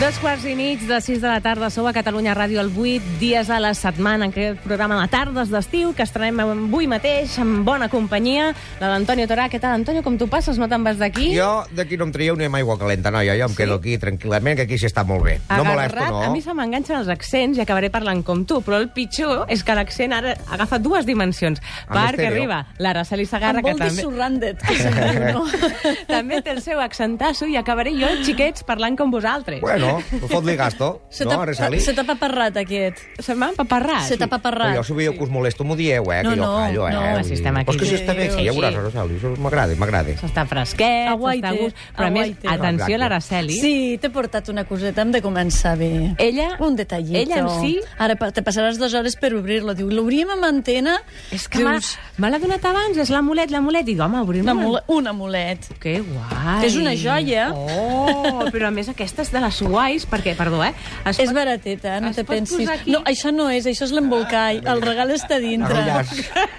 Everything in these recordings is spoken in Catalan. Dos quarts i mig de sis de la tarda sou a Catalunya Ràdio el 8 dies a la setmana en aquest programa de tardes d'estiu que estrenem avui mateix amb bona companyia la d'Antonio Torà. Què tal, Antonio? Com tu passes? No te'n vas d'aquí? Jo d'aquí no em traieu ni amb aigua calenta, noia. Jo em quedo aquí tranquil·lament, que aquí s'està molt bé. No molesto, Agarrat, no? A mi se m'enganxen els accents i acabaré parlant com tu, però el pitjor és que l'accent ara agafa dues dimensions. Amb Perquè estèreo. arriba l'Araceli Sagarra, Em que vol dir també... surrounded, que se'n diu, no? també té el seu accentasso i acabaré jo, xiquets, parlant com vosaltres. Bueno, fot-li gasto, Se no, t'ha- Araceli? Se t'ha paparrat, aquest. Se m'ha empaparrat. Se t'ha paparrat. Però jo si veieu que us molesto m'ho dieu, eh? No, que jo no, callo, eh? no, Vull si dir, estem Però és que aquí. si estem aquí, ja veuràs, Sí. Araceli. això M'agrada, m'agrada. S'està fresquet, Aguaite, s'està a gust. Però a més, aguaite. atenció Exacte. a l'Araceli. Sí, t'he portat una coseta, hem de començar bé. Ella- Un detallito. ella en si- Ara pa- te passaràs dues hores per obrir-lo. Diu, l'obrim amb antena... És que m'ha- me l'ha donat abans, és l'amulet, l'amulet. I dic, home, obrim Una, mule, un amulet. Que guai. És una joia. Oh, però a més aquesta és de les guais, perquè, perdó, eh? Es És barateta, no es te pot pensis. posar aquí? Ah, No, això no és, això és l'embolcall. El regal està dintre. Ah,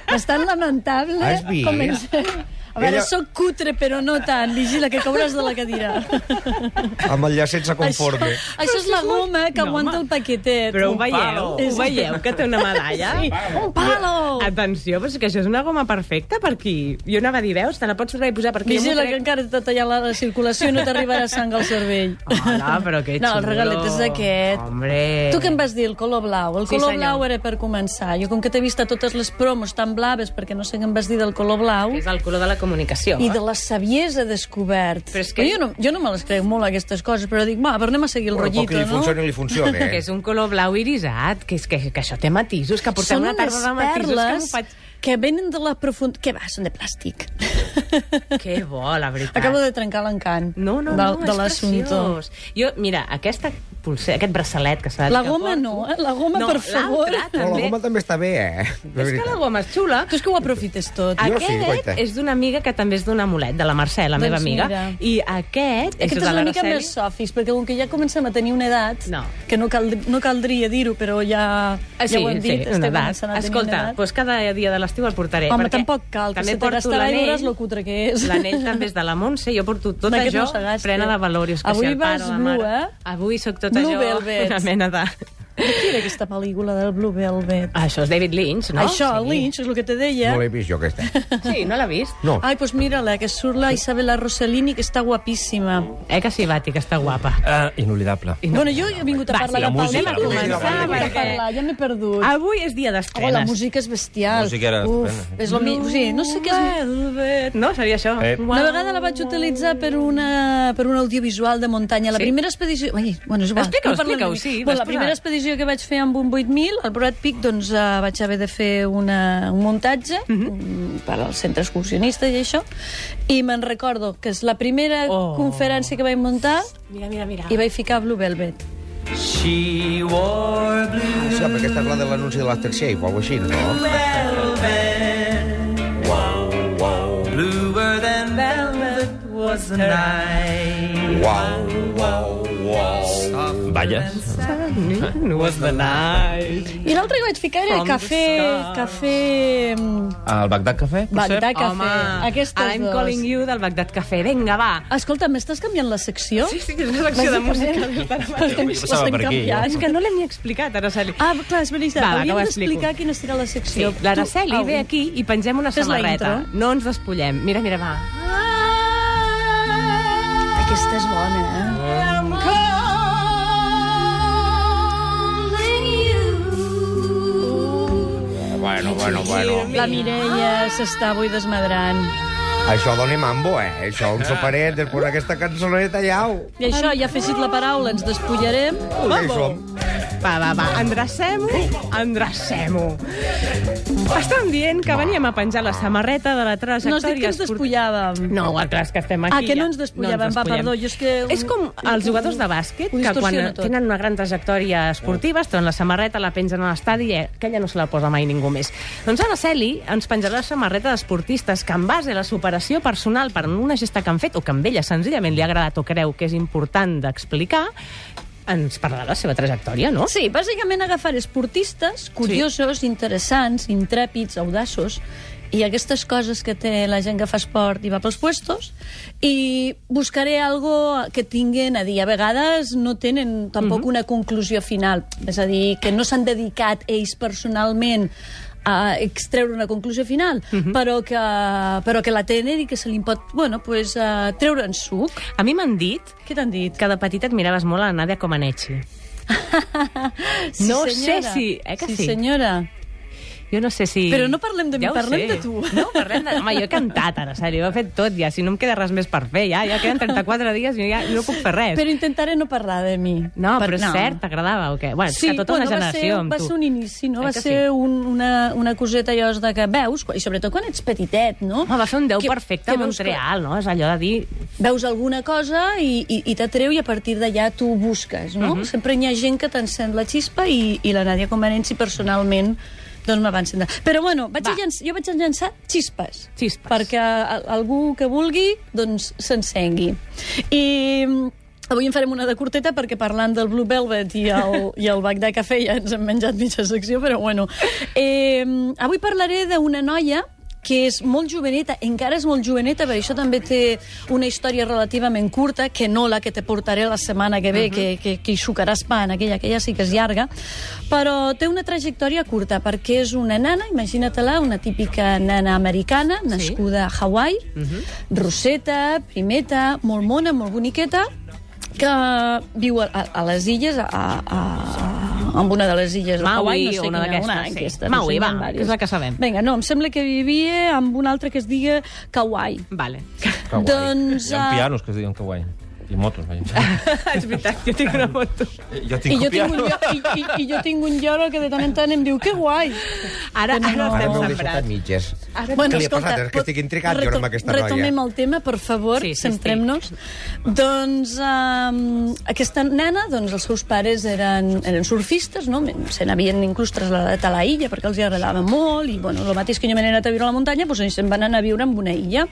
Bastant lamentable. Ah, Has vist? Comencem. A veure, Ella- sóc cutre, però no tant. Vigila, que cauràs de la cadira. Amb el llacet se conforme. Això, això és la goma que No, aguanta home. el paquetet. Però ho Un veieu, palo. ho veieu, que té una medalla? Sí, un Oh. palo! Atenció, però és que això és una goma perfecta per aquí. Jo anava a dir, veus, te la pots tornar i posar per aquí. Vigila, que Jo m'ho encara t'ha tallat la, la circulació i no t'arribarà sang al cervell. Hola, però que xulo. No, el regalet és aquest. Hombre. Tu què em vas dir, el color blau? El Sí, color senyor. blau era per començar. Jo, com que t'he vist a totes les promos tan blaves, perquè no sé què em vas dir del color blau, Que és el color de la comunicació. i de la saviesa descobert. Però és que- Jo, no, jo no me les crec molt, aquestes coses, però dic, va, però anem a seguir el Bueno, poc que rotllito, li no? funcioni, li funciona, Que eh? és un color blau irisat, que, és que, que això té matisos, que Ah, portem Són una tarda unes de matisos que m'ho perles faig... que venen de la profund... Què va, són de plàstic. Que bo, la veritat. Acabo de trencar l'encant No, no, de, no, de és l'assumpte. preciós. Jo, mira, aquesta pulsera, aquest braçalet que s'ha La goma no, eh? La goma, no, per favor. l'altra Però la també. goma també està bé, eh? De És que la veritat. goma és xula. Tu és que ho aprofites tot. Ah, Jo sí, Aquest guaita. és d'una amiga que també és d'un amulet, de la Mercè, la Doncs meva amiga. mira. I aquest, Aquest això és de una mica l'Araceli, més sòfis, perquè com que ja comencem a tenir una edat, No. que no, cal, no caldria dir-ho, però ja, Ah, sí, ja ho hem dit, sí, una estem edat. començant a tenir Escolta, una edat. doncs cada dia de l'estiu el portaré. Home, perquè tampoc cal, que també se te porto gastarà i l'anell. veuràs lo cutre que és. L'anell també és de la Montse, jo porto tot D'aquest això no se gasta. plena de valors. Que Avui si el pare, vas la mare- blu, eh? Avui sóc tot Blue això Velvet. una mena de... De qui era aquesta pel·lícula del Blue Velvet? Això és David Lynch, Ah, no? Això, sí. el Lynch, és el que te deia. No l'he vist jo, aquesta. Sí, no l'ha vist? No. Ai, doncs mira-la, que surt la Isabella Rossellini, que està guapíssima. Eh que sí, Bati, que està guapa. Uh, inolvidable. Bueno, jo he vingut a Va, parlar sí, la de música, pel·lícules. la música, Ah, He vingut a perquè- parlar, ja m'he perdut. Avui és dia Oh, la d'estrenes. música és bestial. La música era Uf, estupenda. és lo mi... O sigui, no sé què és... Velvet. No, seria això. Eh. Una vegada la vaig utilitzar per, una, per un audiovisual de muntanya. La Sí? primera expedició... Ai, bueno, és igual. Explica-ho, parlem explica-ho, de mi. sí, Bueno, la després primera ara. expedició que vaig fer amb un 8.000, al Brad Pic, doncs eh, vaig haver de fer una, un muntatge Mhm. mm, per al centre excursionista i això, i me'n recordo que és la primera Oh. conferència que vaig muntar Mira, mira, mira. i vaig ficar Blue Velvet. She wore blue Ah, Sí, perquè aquesta és la de l'anunci de l'Aftershave o alguna així, no? velvet. Wow, wow. Bluer than velvet was the night. Uau, uau, uau. Vaya. Was the night. I l'altre que vaig ficar era From the cafè... sky. Cafè... mm, Al Bagdad Café, per Bagdad cert. Cafè. Home, Aquestes I'm dos. calling you del Bagdad Café. Vinga, va. Escolta, m'estàs canviant la secció? Sí, sí, que és una secció de música. des d'ara mateix. Estem, Jo passava estem per aquí, eh? canviant. És que no l'hem ni explicat, Araceli. Ah, clar, és veritat. Va, va, que ho Hauríem explico. d'explicar quina serà la Sí, secció. l'Araceli Tu- ve Au. aquí i pengem una Ah, Fes la samarreta. intro. No ens despullem. Mira, mira, va. Aquesta és bona, eh? Bueno, bueno, bueno. La Mireia s'està avui desmadrant. Això dona mambo, eh? Això, un soparet, després d'aquesta cançoneta, ja... ho- I això, ja ha afegit la paraula, ens despullarem. Ja hi som. Va, va, va, endrecem-ho, endrecem-ho. Estàvem dient que veníem a penjar la samarreta de la No has dit que trajectòria ens despullàvem. No, clar, és que estem aquí. Ah, que no ja. ens despullàvem. Va, despullem. perdó, jo és que- És com els jugadors de bàsquet, Ho que quan distorsiona tot. tenen una gran trajectòria esportiva, es treuen la samarreta, la pengen a l'estadi i aquella no se la posa mai ningú més. Doncs ara Celi ens penjarà la samarreta d'esportistes que en base a la superació personal per una gesta que han fet o que a ella senzillament li ha agradat o creu que és important d'explicar, ens parlarà de la seva trajectòria, no? Sí, bàsicament agafar esportistes curiosos, interessants, intrèpids, audaços, i aquestes coses que té la gent que fa esport i va pels puestos i buscaré algo que tinguin a dir, a vegades no tenen Mhm. tampoc una conclusió final és a dir, que no s'han dedicat ells personalment a extreure una conclusió final Mhm. però, que, però que la tenen i que se li pot bueno, pues, uh, treure en suc A mi m'han dit què t'han dit? que de petita et miraves molt a la Nadia Comaneci. sí, No sé senyora. si- eh que sí, sí? senyora. Jo no sé si... Però no parlem de mi, ho sé. parlem de tu. No, parlem de... Home, jo he cantat, ara, sèrio, ho he fet tot ja. Si no em queda res més per fer, ja. Ja queden 34 dies i jo ja no puc fer res. Però intentaré no parlar de mi. No, Per- però és cert, t'agradava o què? Bueno, és que tota una generació va ser, amb va tu. ser un inici, no? Eh va que ser sí? un, una, una coseta allò de que veus, i sobretot quan ets petitet, no? Home, va fer un 10 Que- perfecte que a veus que- Montreal, no? És allò de dir... veus alguna cosa i, i, i t'atreu i a partir d'allà tu ho busques, no? Mhm. Sempre hi ha gent que t'encén la xispa i, i la Nàdia Comanensi personalment doncs me va encendre. Però bueno, vaig Va. a llanç, jo vaig a llançar xispes. Xispes. Perquè a- algú que vulgui, doncs s'encengui. I mm, avui en farem una de curteta perquè parlant del Blue Velvet i el, i el Bagdà Cafè ja ens hem menjat mitja secció, però bueno. Eh, avui parlaré d'una noia que és molt joveneta, encara és molt joveneta, però això també té una història relativament curta, que no la que te portaré la setmana que ve, Mhm. que, que, que hi xocaràs pa en aquella, aquella sí que és llarga, però té una trajectòria curta, perquè és una nana, imagina-te-la, una típica nana americana, nascuda a Hawaii, Mhm. rosseta, primeta, molt mona, molt boniqueta, que viu a, a, a les illes, a, a, a, amb una de les illes de Maui Hawaii, no sé o una quina, d'aquestes, sí. aquesta, Maui, sé, va, n'hi ha que és diverses. la que sabem. Vinga, no, em sembla que vivia amb un altre que es diga Kauai. Vale. Kawaii. Doncs, Hi ha eh, pianos que es diuen kawaii. I motos, vaja. és veritat, jo tinc una moto. jo Ah. I tinc jo, tinc un un, piano. lloro- i, i, I jo tinc un lloro que de tant en tant em diu que guai. Ara, Que ara no. Ara estem m'heu deixat a sembrats. mitges. Ara, Què li ha passat? És que estic intrigat, jo, amb aquesta noia. Retomem el tema, per favor, Sí, sí, sí, sí, centrem-nos. Doncs um, aquesta nana, doncs els seus pares eren, eren surfistes, no? se n'havien inclús traslladat a la illa perquè els hi agradava molt, i bueno, el mateix que jo me n'he anat a viure a la muntanya, doncs ells se'n van anar a viure en una illa.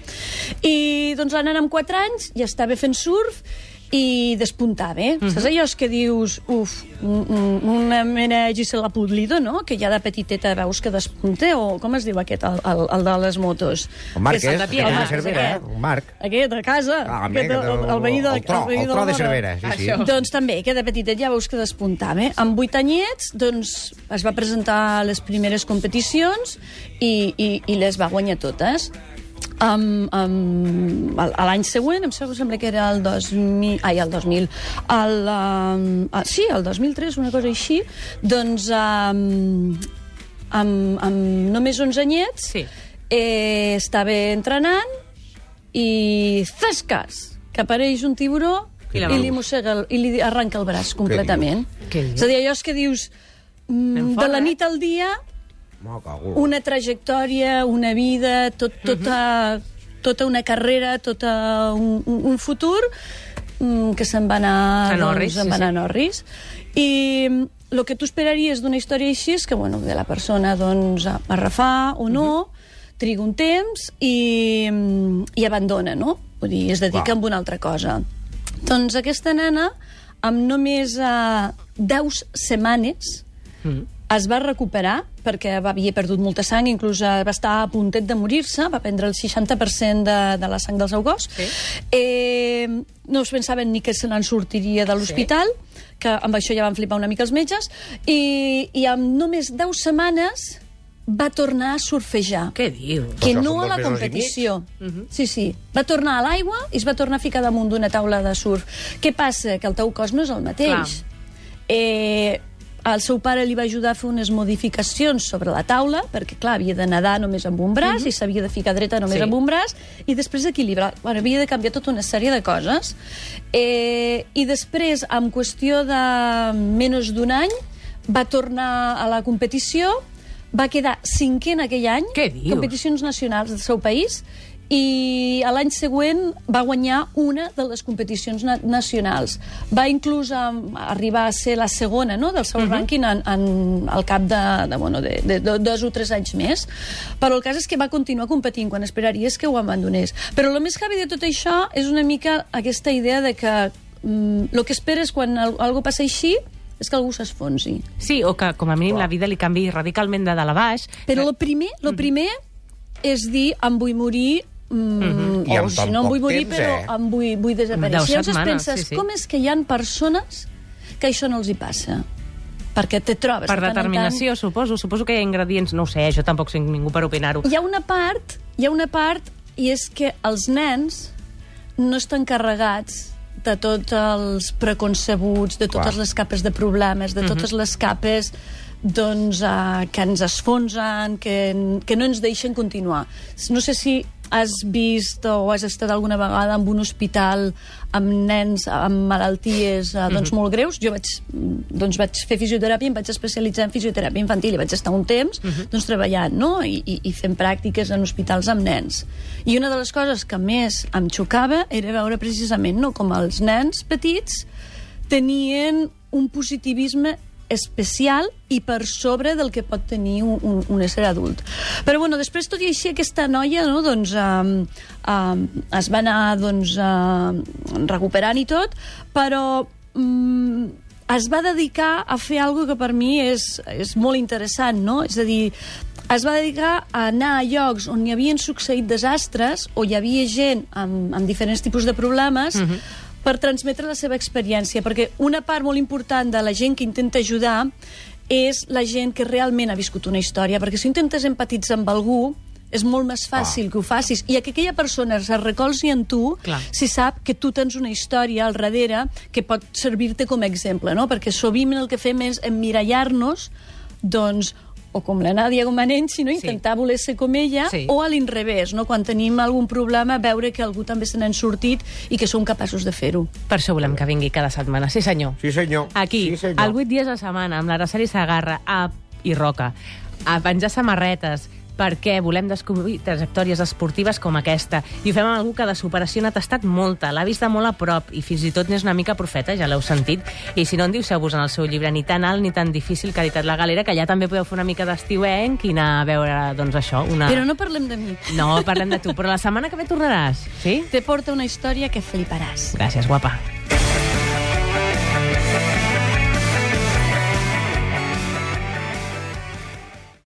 I doncs la nana amb 4 anys ja estava fent surf, i despuntava, eh? Mhm. Mm -hmm. Saps allò és que dius, uf, un- un- una mena Gisela Pulido, no?, que ja de petiteta veus que despunta, o com es diu aquest, el, el, el de les motos? El Marc Que és, el que Piera, és de és Cervera, aquest. eh? El Marc. Aquest, a casa. Ah, home, aquest, que el, el, el veí de, el tro, veí el la tro de vora. Cervera, sí, sí. Això. Doncs també, que de petitet ja veus que despuntava. Eh? Amb vuit anyets, doncs, es va presentar a les primeres competicions i, i, i les va guanyar totes. Um, um, a l'any següent, em sembla- sembla que era el 2000... Ai, el 2000. El, um, ah, sí, el 2003, una cosa així. Doncs um, amb, amb només 11 anyets Sí. eh, estava entrenant i zascas, que apareix un tiburó I i, la va li mossega el, i li arranca el braç completament. Què dius? És a dir, allò és que dius mm, Anem de fora, la eh? nit al dia M'ho cago. una trajectòria, una vida, tot, Mhm. tota, tota una carrera, tot un, un un futur mm, que se'n va anar doncs, A Norris, se'n va sí, sí. anar a Norris. I el que tu esperaries d'una història així és que, bueno, que la persona doncs, a- arrafà o no, Mhm. triga un temps i, mm, i abandona, no? Vull dir, es dedica Clar. a una altra cosa. Doncs aquesta nana, amb només eh, 10 setmanes, Mm. es va recuperar perquè va- havia perdut molta sang, inclús eh, va estar a puntet de morir-se, va prendre el 60% de, de la sang del seu cos. Sí. Eh, no es pensaven ni que se n'en sortiria de l'hospital, que amb això ja van flipar una mica els metges, i, i amb només 10 setmanes va tornar a surfejar Què dius? que Això no són a dos mesos la i mig? competició. Sí, sí. Va tornar a l'aigua i es va tornar a ficar damunt d'una taula de surf. Què passa? Que el teu cos no és el mateix. Eh, el seu pare li va ajudar a fer unes modificacions sobre la taula, perquè, clar, havia de nedar només amb un braç i s'havia de ficar dreta només Sí. amb un braç, i després equilibrar. Bueno, havia de canviar tota una sèrie de coses. Eh, I després, en qüestió de menys d'un any, va tornar a la competició, va quedar cinquè en aquell any, Què dius? competicions nacionals del seu país i a l'any següent va guanyar una de les competicions na nacionals. Va inclús um, arribar a ser la segona no, del Mhm. seu rànquing en, en, al cap de, de, bueno, de, de, do- dos o tres anys més. Però el cas és que va continuar competint quan esperaries que ho abandonés. Però el més cavi de tot això és una mica aquesta idea de que mm, el que esperes quan al algo passa així és que algú s'esfonsi. Sí, o que com a mínim la vida li canvi radicalment de dalt a baix. Eh, Però el primer, lo primer és dir, em vull morir Mm, I o amb si tan no em poc vull morir, temps, però eh? em vull, vull desaparèixer. Deu I llavors setmanes, penses, sí, sí. com és que hi han persones que això no els hi passa? Perquè te trobes... Per de tant en tant- determinació, suposo. Suposo que hi ha ingredients, no ho sé, jo tampoc soc ningú per opinar-ho. hi ha una part, hi ha una part i és que els nens no estan carregats de tots els preconcebuts, de totes Clar. les capes de problemes, de totes les capes doncs, uh, que ens esfonsen, que, n- que no ens deixen continuar. No sé si has vist o has estat alguna vegada en un hospital amb nens amb malalties eh, doncs, molt greus. Jo vaig, mm, doncs, vaig fer fisioteràpia, em vaig especialitzar en fisioteràpia infantil i vaig estar un temps doncs, treballant no? I, i, i fent pràctiques en hospitals amb nens. I una de les coses que més em xocava era veure precisament no? com els nens petits tenien un positivisme especial i per sobre del que pot tenir un, un, un ésser adult. Però bueno, després, tot i així, aquesta noia no, doncs, um, um, es va anar doncs, uh, recuperant i tot, però um, es va dedicar a fer algo que per mi és, és molt interessant, no? És a dir, es va dedicar a anar a llocs on hi havien succeït desastres o hi havia gent amb, amb diferents tipus de problemes mm -hmm. per transmetre la seva experiència, perquè una part molt important de la gent que intenta ajudar és la gent que realment ha viscut una història, perquè si intentes empatitzar amb algú, és molt més fàcil ah. que ho facis. I que aquella persona se recolzi en tu Clar. si sap que tu tens una història al darrere que pot servir-te com a exemple, no? Perquè sovint el que fem és emmirallar-nos, doncs, o com la Nàdia Comanensi, no? intentar voler ser com ella, Sí. o a l'inrevés, no? quan tenim algun problema, veure que algú també se n'ha sortit i que som capaços de fer-ho. Per això volem que vingui cada setmana. Sí, senyor. Sí, senyor. Aquí, Sí, senyor. al 8 dies a la setmana, amb l'Araceli Sagarra a... i Roca, a penjar samarretes, perquè volem descobrir trajectòries esportives com aquesta. I ho fem amb algú que de superació n'ha tastat molta, l'ha vist de molt a prop i fins i tot n'és una mica profeta, ja l'heu sentit. I si no, en diu-vos en el seu llibre ni tan alt ni tan difícil que ha editat la galera, que ja també podeu fer una mica d'estiuenc i anar a veure, doncs, això, una... Però no parlem de mi. no, parlem de tu, però la setmana que ve tornaràs, sí? Te porta una història que fliparàs. Gràcies, guapa.